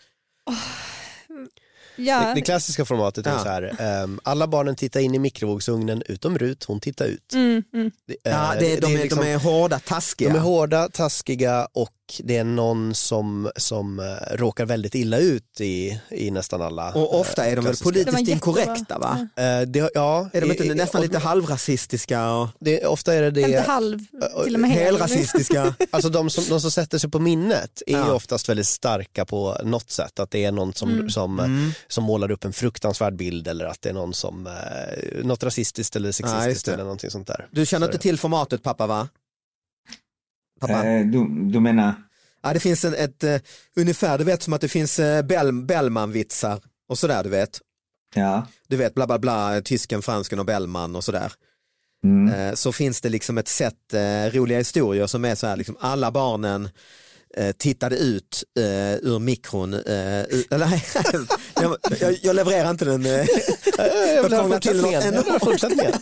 [SPEAKER 3] Ja,
[SPEAKER 4] Det, det klassiska formatet är
[SPEAKER 2] Ja.
[SPEAKER 4] så här, ehm, alla barnen tittar in i mikrovågsugnen utom Rut, hon tittar ut.
[SPEAKER 3] mm, mm.
[SPEAKER 4] Det- eh,
[SPEAKER 2] Ja, det, de,
[SPEAKER 4] det
[SPEAKER 2] är,
[SPEAKER 4] liksom-
[SPEAKER 2] de är hårda, taskiga.
[SPEAKER 4] de är hårda, taskiga och det är någon som, som eh, råkar väldigt illa ut i, i nästan alla.
[SPEAKER 2] Och ofta är de väl
[SPEAKER 4] klassiska-
[SPEAKER 3] De
[SPEAKER 2] politiskt
[SPEAKER 3] är jättebra.
[SPEAKER 2] inkorrekta va?
[SPEAKER 4] Eh, det, ja,
[SPEAKER 2] Är de
[SPEAKER 4] i-
[SPEAKER 2] inte
[SPEAKER 4] i-
[SPEAKER 2] nästan
[SPEAKER 4] och-
[SPEAKER 2] lite halvrasistiska och
[SPEAKER 4] det, ofta är det
[SPEAKER 3] Inte
[SPEAKER 4] det,
[SPEAKER 3] halv, till och med hel.
[SPEAKER 2] helrasistiska?
[SPEAKER 4] alltså de som, de som sätter sig på minnet är ju
[SPEAKER 2] Ja.
[SPEAKER 4] oftast väldigt starka på något sätt, att det är någon som,
[SPEAKER 3] Mm.
[SPEAKER 4] som, eh,
[SPEAKER 2] Mm.
[SPEAKER 4] som målar upp en fruktansvärd bild eller att det är någon som, eh, något rasistiskt eller sexistiskt
[SPEAKER 2] det.
[SPEAKER 4] eller någonting sånt där.
[SPEAKER 2] Du känner
[SPEAKER 4] Så
[SPEAKER 2] inte till formatet pappa va? Pappa?
[SPEAKER 5] Eh, du, du menar,
[SPEAKER 2] Ja, det finns en, ett eh, ungefär, du vet som att det finns eh, Bell, Bellman-vitsar och sådär du vet.
[SPEAKER 5] ja.
[SPEAKER 2] Du vet bla bla bla, tysken, fransken och Bellman och sådär.
[SPEAKER 5] Mm.
[SPEAKER 2] Eh, så finns det liksom ett sätt eh, roliga historier som är så här, liksom, alla barnen eh, tittade ut eh, ur mikron. Eh, ur, eller, nej, jag, jag, jag levererar inte den. Eh,
[SPEAKER 4] Jag vill
[SPEAKER 2] Jag
[SPEAKER 4] ha
[SPEAKER 2] kommer till
[SPEAKER 4] fortsättningen.
[SPEAKER 2] något
[SPEAKER 4] Jag vill ha fortsättningen.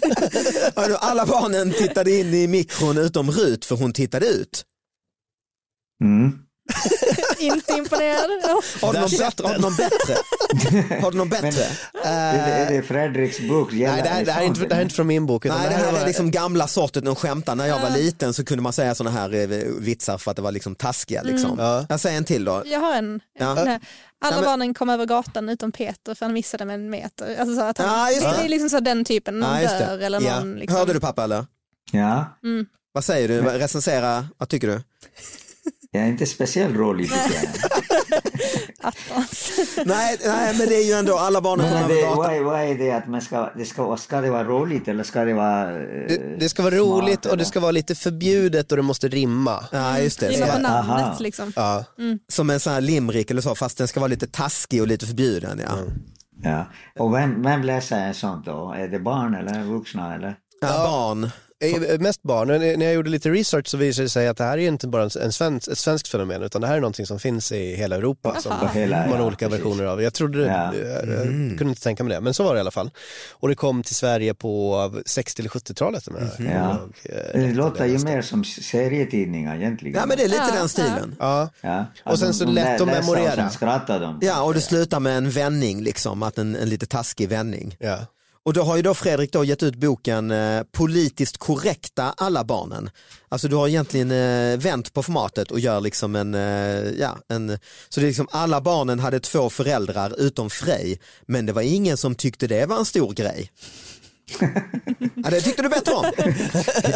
[SPEAKER 2] alla barnen tittade in i mikron utom Rut för hon tittade ut.
[SPEAKER 5] Mm.
[SPEAKER 3] Inte imponerad.
[SPEAKER 2] Har du
[SPEAKER 4] Där
[SPEAKER 2] någon
[SPEAKER 4] satt
[SPEAKER 2] bättre? Har du
[SPEAKER 4] den.
[SPEAKER 2] någon bättre? Har du någon bättre?
[SPEAKER 5] Är det, är det Fredriks bok?
[SPEAKER 4] Nej, det här, det, här är inte, det här är inte från min bok. utan
[SPEAKER 2] Nej, det
[SPEAKER 4] var-
[SPEAKER 2] här är liksom gamla sorten de skämtar. När jag var liten så kunde man säga sådana här eh, vitsar för att det var liksom taskiga. Liksom.
[SPEAKER 4] Ja.
[SPEAKER 2] Jag säger en till då.
[SPEAKER 3] Jag har en.
[SPEAKER 2] Ja.
[SPEAKER 3] Nej. Alla
[SPEAKER 2] Ja, men-
[SPEAKER 3] barnen kom över gatan utom Peter för han missade med en meter. Alltså så att han,
[SPEAKER 2] Ja, just
[SPEAKER 3] det.
[SPEAKER 2] det.
[SPEAKER 3] är liksom så den typen, någon
[SPEAKER 2] Ja, just det.
[SPEAKER 3] dör eller
[SPEAKER 4] Ja.
[SPEAKER 3] någon... Liksom.
[SPEAKER 2] Hörde du pappa eller?
[SPEAKER 5] Ja,
[SPEAKER 2] Vad säger du? Recensera, vad tycker du?
[SPEAKER 5] jag är inte speciellt rolig tycker jag.
[SPEAKER 2] Nej, nej men det är ju ändå alla barnen
[SPEAKER 5] Men
[SPEAKER 2] kommer över
[SPEAKER 5] det,
[SPEAKER 2] gatan.
[SPEAKER 5] vad, är, vad är det att man ska, det ska, ska det vara roligt eller ska det vara... eh,
[SPEAKER 4] Det, det ska vara roligt och det ska vara lite förbjudet och det måste rimma.
[SPEAKER 2] Ja, just det.
[SPEAKER 3] Gilla på
[SPEAKER 2] Som,
[SPEAKER 3] namnet
[SPEAKER 5] Aha.
[SPEAKER 3] liksom.
[SPEAKER 4] Ja.
[SPEAKER 2] som en sån här limrik eller så, fast den ska vara lite taskig och lite förbjuden. Ja.
[SPEAKER 5] Mm. Ja. Och vem, vem läser en sån då? Är det barn eller vuxna eller?
[SPEAKER 2] Ja, barn.
[SPEAKER 4] Eh, Mest barn. Och När jag gjorde lite research så visade det sig att det här är ju inte bara en en svensk, ett svenskt fenomen utan det här är någonting som finns i hela Europa som
[SPEAKER 5] På hela,
[SPEAKER 4] man har
[SPEAKER 5] ja,
[SPEAKER 4] olika
[SPEAKER 5] precis.
[SPEAKER 4] versioner av. Jag trodde det,
[SPEAKER 5] Ja. Mhm.
[SPEAKER 4] jag, jag kunde inte tänka mig det, men så var det i alla fall. Och det kom till Sverige på 60 eller 70-talet. om jag kommer
[SPEAKER 5] Mhm. Ja.
[SPEAKER 4] ihåg, eh,
[SPEAKER 5] Det
[SPEAKER 4] rätt.
[SPEAKER 5] låter ju mer som serietidningar egentligen.
[SPEAKER 2] Ja, men det är lite
[SPEAKER 3] Ja,
[SPEAKER 2] den stilen.
[SPEAKER 4] Ja.
[SPEAKER 5] Ja.
[SPEAKER 4] Och sen så
[SPEAKER 5] de- de
[SPEAKER 4] lätt att
[SPEAKER 5] lä- läser
[SPEAKER 4] memorera.
[SPEAKER 5] Och sen skrattar de.
[SPEAKER 2] Ja, och det slutar med en vändning, liksom, att en, en lite taskig vändning.
[SPEAKER 4] Ja.
[SPEAKER 2] Och då har ju då Fredrik då gett ut boken eh, Politiskt korrekta alla barnen. Alltså du har egentligen eh, vänt på formatet och gör liksom en, eh, ja, en, så det är liksom alla barnen hade två föräldrar utom Frej, men det var ingen som tyckte det var en stor grej. ja, det tyckte du bättre om.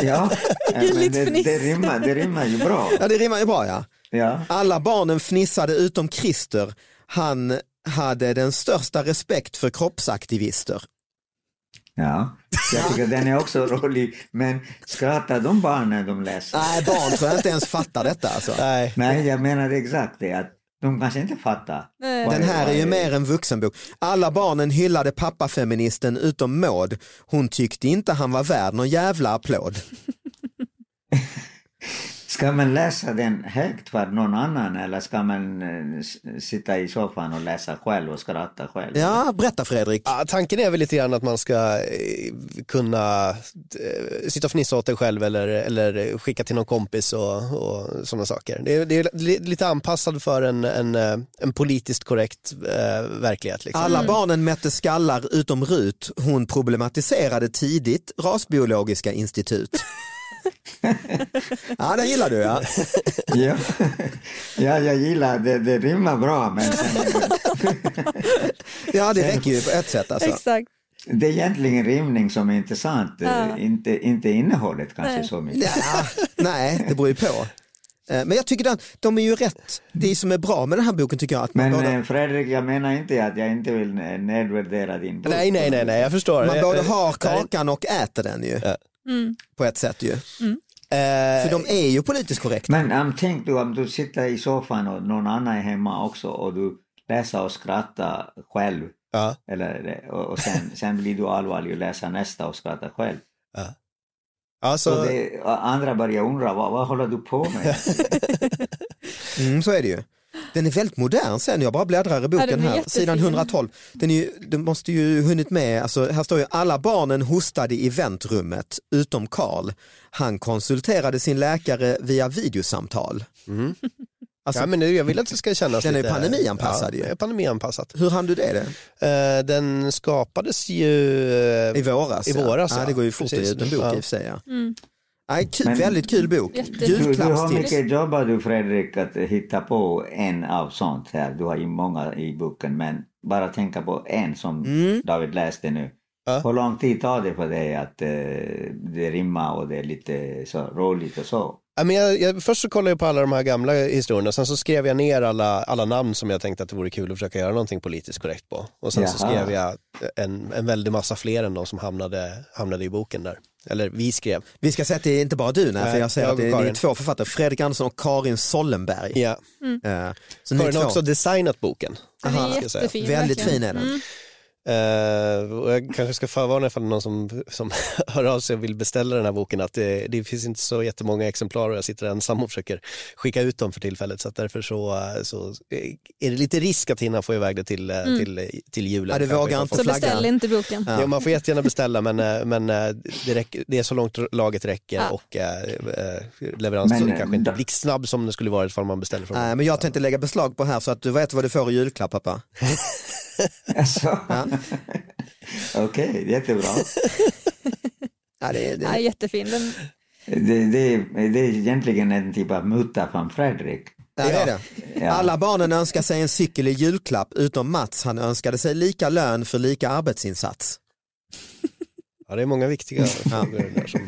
[SPEAKER 5] ja. men
[SPEAKER 3] Gulligt
[SPEAKER 5] det, det,
[SPEAKER 3] fniss.
[SPEAKER 5] rimmar, det rimmar ju bra.
[SPEAKER 2] Ja, det rimmar ju bra ja.
[SPEAKER 5] Ja.
[SPEAKER 2] Alla barnen fnissade utom Christer. Han hade den största respekt för kroppsaktivister.
[SPEAKER 5] ja. Jag tycker den är också rolig. Men skrattar de barn när de läser?
[SPEAKER 2] Nej, barn tror jag inte ens fattar detta alltså.
[SPEAKER 4] Nej.
[SPEAKER 5] Nej, jag menar exakt det. Att de kanske inte fattar.
[SPEAKER 3] Nej.
[SPEAKER 5] Vad
[SPEAKER 2] Den här är ju
[SPEAKER 5] vad
[SPEAKER 2] mer en vuxenbok. Alla barnen hyllade pappafeministen utom Maud. Hon tyckte inte han var värd någon jävla applåd.
[SPEAKER 5] Ska man läsa den högt för någon annan eller ska man eh, s- sitta i soffan och läsa själv och skratta själv?
[SPEAKER 2] Ja, berätta Fredrik.
[SPEAKER 4] Ja, tanken är väl lite grann att man ska eh, kunna eh, sitta och fnissa åt dig själv eller, eller skicka till någon kompis och, och sådana saker. Det är, det är li- lite anpassad för en, en, eh, en politiskt korrekt eh, verklighet. Liksom.
[SPEAKER 2] Alla
[SPEAKER 5] Mm.
[SPEAKER 2] barnen mätte skallar utom Rut. Hon problematiserade tidigt rasbiologiska institut. Ja, den gillar du ja.
[SPEAKER 5] Ja, ja jag gillar det. Det rimmar bra men sen-
[SPEAKER 2] Ja, det räcker ju på ett sätt alltså.
[SPEAKER 3] Exakt.
[SPEAKER 5] det är egentligen rimning som är intressant. eh,
[SPEAKER 3] Ja.
[SPEAKER 5] Inte, inte innehållet kanske så mycket.
[SPEAKER 2] Ja, nej, det beror ju på. Eh, Men jag tycker den, de är ju rätt. Det som är bra med den här boken tycker jag att man
[SPEAKER 5] Men
[SPEAKER 2] båda-
[SPEAKER 5] eh, Fredrik, jag menar inte att jag inte vill eh, nedvärdera din bok.
[SPEAKER 4] Nej, nej, nej, nej, jag förstår.
[SPEAKER 2] Man både har
[SPEAKER 4] Det här är-
[SPEAKER 2] kakan och äter den ju.
[SPEAKER 3] Mm.
[SPEAKER 2] På ett sätt ju.
[SPEAKER 4] Eh,
[SPEAKER 2] För de är ju politiskt korrekta.
[SPEAKER 5] Men um, tänk du om du sitter i soffan och någon annan är hemma också och du läser och skrattar själv.
[SPEAKER 4] ja.
[SPEAKER 5] Eller, det- och och sen, sen blir du allvarlig och läser nästa och skrattar själv.
[SPEAKER 4] Alltså,
[SPEAKER 5] Så det, och andra börjar undra, vad, vad håller du på med?
[SPEAKER 2] Mm, så är det ju. Den är väldigt modern sen, jag bara bläddrar i
[SPEAKER 3] Ja,
[SPEAKER 2] boken
[SPEAKER 3] den är
[SPEAKER 2] här,
[SPEAKER 3] jättefin.
[SPEAKER 2] sidan 112. Den, är ju, den måste ju hunnit med, alltså, här står ju alla barnen hostade i väntrummet utom Karl. Han konsulterade sin läkare via videosamtal. alltså-
[SPEAKER 4] ja, men nu, jag vill att det ska kännas
[SPEAKER 2] Den är
[SPEAKER 4] lite...
[SPEAKER 2] pandemianpassad ju.
[SPEAKER 4] ja, ju. Pandemianpassad.
[SPEAKER 2] Hur hann du det? det?
[SPEAKER 4] Eh, den skapades ju...
[SPEAKER 2] I våras?
[SPEAKER 4] I våras,
[SPEAKER 2] ja.
[SPEAKER 4] ja.
[SPEAKER 2] det går ju fort
[SPEAKER 4] Precis.
[SPEAKER 2] ut en bok i
[SPEAKER 4] Ja.
[SPEAKER 3] Mm.
[SPEAKER 2] och för sig. Ja. Nej, kul,
[SPEAKER 5] Men-
[SPEAKER 2] väldigt kul bok.
[SPEAKER 3] Jätte-
[SPEAKER 5] Du, du har
[SPEAKER 2] Julklappstips.
[SPEAKER 5] mycket jobb du Fredrik att hitta på en av sånt här. Du har ju många i boken men bara tänka på en som
[SPEAKER 2] Mm.
[SPEAKER 5] David läste nu.
[SPEAKER 4] Ja.
[SPEAKER 5] Hur lång tid tar det för dig att eh, det rimmar och det är lite så roligt och så?
[SPEAKER 4] Ja, men jag, jag, först så kollade jag på alla de här gamla historierna, sen så skrev jag ner alla, alla namn som jag tänkte att det vore kul att försöka göra någonting politiskt korrekt på. Och sen så
[SPEAKER 5] Jaha.
[SPEAKER 4] skrev jag en, en väldig massa fler än de som hamnade, hamnade i boken där. Eller vi skrev.
[SPEAKER 2] Vi ska säga att det är inte bara du, nej, för
[SPEAKER 4] Nej,
[SPEAKER 2] jag säger
[SPEAKER 4] jag
[SPEAKER 2] att
[SPEAKER 4] och
[SPEAKER 2] det är, ni är
[SPEAKER 4] Karin.
[SPEAKER 2] två författare, Fredrik Andersson och Karin Sollenberg.
[SPEAKER 4] Ja.
[SPEAKER 2] Eh, Så ni
[SPEAKER 4] Karin har
[SPEAKER 2] två,
[SPEAKER 4] också designat boken.
[SPEAKER 3] Den är
[SPEAKER 4] Aha, ska jag säga.
[SPEAKER 3] jättefin.
[SPEAKER 2] väldigt
[SPEAKER 3] verkligen.
[SPEAKER 2] fin är den.
[SPEAKER 4] Eh, och jag kanske ska förvarna ifall det är någon som, som hör av sig och vill beställa den här boken att det, det finns inte så jättemånga exemplar och jag sitter ensam och försöker skicka ut dem för tillfället så att därför så, eh, så eh, är det lite risk att hinna få iväg det till, eh, till, till julen.
[SPEAKER 2] Ja, du
[SPEAKER 4] kanske,
[SPEAKER 2] vågar
[SPEAKER 4] ifall
[SPEAKER 2] inte
[SPEAKER 4] folk-
[SPEAKER 3] Mm. Så
[SPEAKER 2] flagga.
[SPEAKER 3] beställ inte boken.
[SPEAKER 2] Ja.
[SPEAKER 4] Ja, man får jättegärna beställa men, eh, men eh, det, räcker, det är så långt laget räcker
[SPEAKER 3] Ja.
[SPEAKER 4] och eh, eh, leveransen
[SPEAKER 5] Men,
[SPEAKER 4] kanske inte
[SPEAKER 5] eh,
[SPEAKER 4] blir snabb som det skulle varit ifall man beställer från
[SPEAKER 2] Nej, Eh, men jag tänkte lägga beslag på här så att du vet vad du får i julklapp pappa.
[SPEAKER 5] Alltså.
[SPEAKER 2] Ja.
[SPEAKER 5] Okej, jättebra.
[SPEAKER 2] Ja, det,
[SPEAKER 3] Ja,
[SPEAKER 2] det,
[SPEAKER 3] jättefin. Den,
[SPEAKER 5] Det, det, det är egentligen en typ av muta från Fredrik.
[SPEAKER 2] ja, det är det.
[SPEAKER 5] Ja.
[SPEAKER 2] Alla barnen önskar sig en cykel i julklapp utom Mats, han önskade sig lika lön för lika arbetsinsats.
[SPEAKER 4] Ja, det är många
[SPEAKER 2] Mm.
[SPEAKER 4] viktiga frågor där som...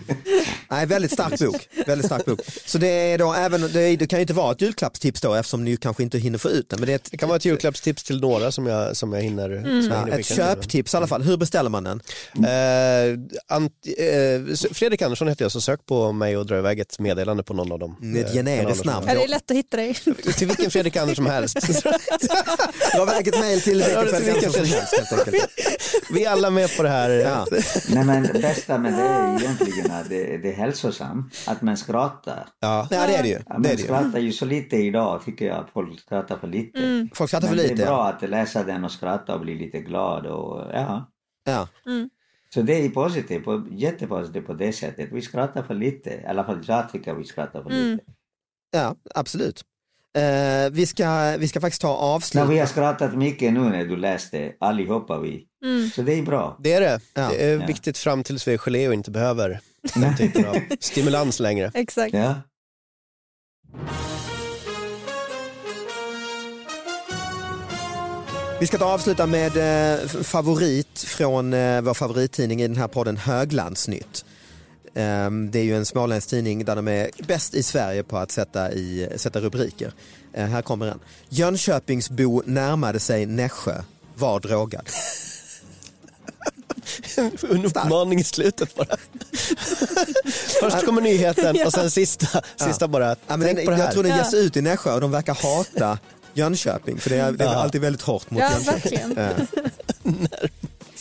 [SPEAKER 2] Nej, väldigt stark bok. Väldigt stark bok. Så det, är då även, det, är, det kan ju inte vara ett julklappstips då eftersom ni ju kanske inte hinner få ut den. Men det är ett,
[SPEAKER 4] Det kan vara ett julklappstips till några som jag, som jag hinner, som jag
[SPEAKER 2] Mm. ja,
[SPEAKER 4] hinner
[SPEAKER 2] ett
[SPEAKER 4] skicka nu.
[SPEAKER 2] köptips i alla fall. Hur beställer man den?
[SPEAKER 4] Eh, ant, eh, s- Fredrik Andersson heter jag, så sök på mig och dra iväg ett meddelande på någon av dem.
[SPEAKER 2] Mm, ett
[SPEAKER 4] eh,
[SPEAKER 2] generiskt
[SPEAKER 4] kanaler som
[SPEAKER 2] namn.
[SPEAKER 3] ja, det är lätt att hitta dig.
[SPEAKER 4] jag- Till vilken Fredrik Andersson som helst.
[SPEAKER 2] Dra iväg ett mejl till
[SPEAKER 4] Ja,
[SPEAKER 2] vilken
[SPEAKER 4] det är
[SPEAKER 2] Fredrik
[SPEAKER 4] vilken
[SPEAKER 2] Andersson som helst helt enkelt.
[SPEAKER 4] Vi är alla med på det här.
[SPEAKER 2] Ja.
[SPEAKER 5] Nej men det bästa med det är egentligen att det, det är hälsosamt, att man skrattar.
[SPEAKER 4] Ja.
[SPEAKER 2] Nej, det är det ju.
[SPEAKER 5] Ja,
[SPEAKER 2] Det är
[SPEAKER 5] man
[SPEAKER 2] det ju.
[SPEAKER 5] skrattar ju så lite idag tycker jag, att folk skrattar för lite.
[SPEAKER 2] Folk Mm. skrattar för
[SPEAKER 5] Men det är
[SPEAKER 2] lite. ja.
[SPEAKER 5] bra att läsa den och skratta och bli lite glad och ja.
[SPEAKER 2] Ja.
[SPEAKER 5] Så det är positivt, och jättepositivt på det sättet. Vi skrattar för lite, i alla fall jag tycker vi skrattar för
[SPEAKER 2] Mm.
[SPEAKER 5] lite.
[SPEAKER 2] Ja, absolut. Eh, vi, ska, vi ska faktiskt ta avslut.
[SPEAKER 5] Men vi har skrattat mycket nu när du läste, allihopa vi.
[SPEAKER 3] Mm.
[SPEAKER 5] Så det är bra.
[SPEAKER 4] Det är det.
[SPEAKER 2] Ja.
[SPEAKER 4] Det är
[SPEAKER 5] Ja.
[SPEAKER 4] viktigt fram tills vi är gelé och inte behöver den typen av stimulans längre.
[SPEAKER 3] Exakt.
[SPEAKER 2] Mm.
[SPEAKER 5] Ja.
[SPEAKER 2] Vi ska ta avsluta med eh, f- favorit från eh, vår favorittidning i den här podden Höglandsnytt. Ehm, det är ju en småländsk tidning där de är bäst i Sverige på att sätta, i, sätta rubriker. Eh, här kommer den. Jönköpingsbo närmade sig Nässjö, var drogad.
[SPEAKER 4] En uppmaning i slutet bara. Först kommer nyheten och sen sista, sista bara,
[SPEAKER 2] Ja, men
[SPEAKER 4] tänk
[SPEAKER 2] den,
[SPEAKER 4] på det här.
[SPEAKER 2] jag tror den
[SPEAKER 3] Ja.
[SPEAKER 2] ges ut i Nässjö och de verkar hata Jönköping för det är, det är
[SPEAKER 4] Ja.
[SPEAKER 2] alltid väldigt hårt mot
[SPEAKER 3] Ja,
[SPEAKER 2] Jönköping.
[SPEAKER 3] verkligen.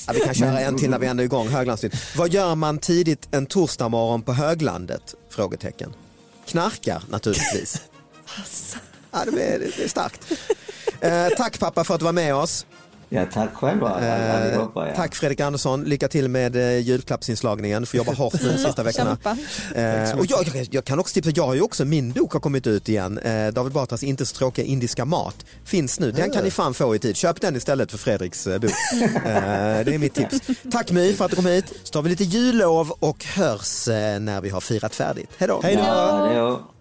[SPEAKER 2] Ja, vi kan köra en till när vi ändå är igång Höglandsnytt. Vad gör man tidigt en torsdagmorgon på Höglandet? Frågetecken. Knarkar naturligtvis.
[SPEAKER 4] Alltså.
[SPEAKER 2] Ja, det är, det är starkt. Eh, tack pappa för att du var med oss.
[SPEAKER 5] ja, tack själva allihopa. Ja.
[SPEAKER 2] Eh, Tack Fredrik Andersson. Lycka till med eh, julklappsinslagningen. Du får jobba hårt nu de sista veckorna.
[SPEAKER 3] Kämpa.
[SPEAKER 2] Eh, och jag, jag, jag kan också tipsa, jag har ju också, min bok har kommit ut igen. Eh, David Batras Inte så tråkiga indiska mat finns nu. Den kan ni fan få i tid. Köp den istället för Fredriks eh, bok. Eh, det är mitt tips. Tack My för att du kom hit. Så tar vi lite jullov och hörs eh, när vi har firat färdigt. Hej då!
[SPEAKER 5] Ja, det är...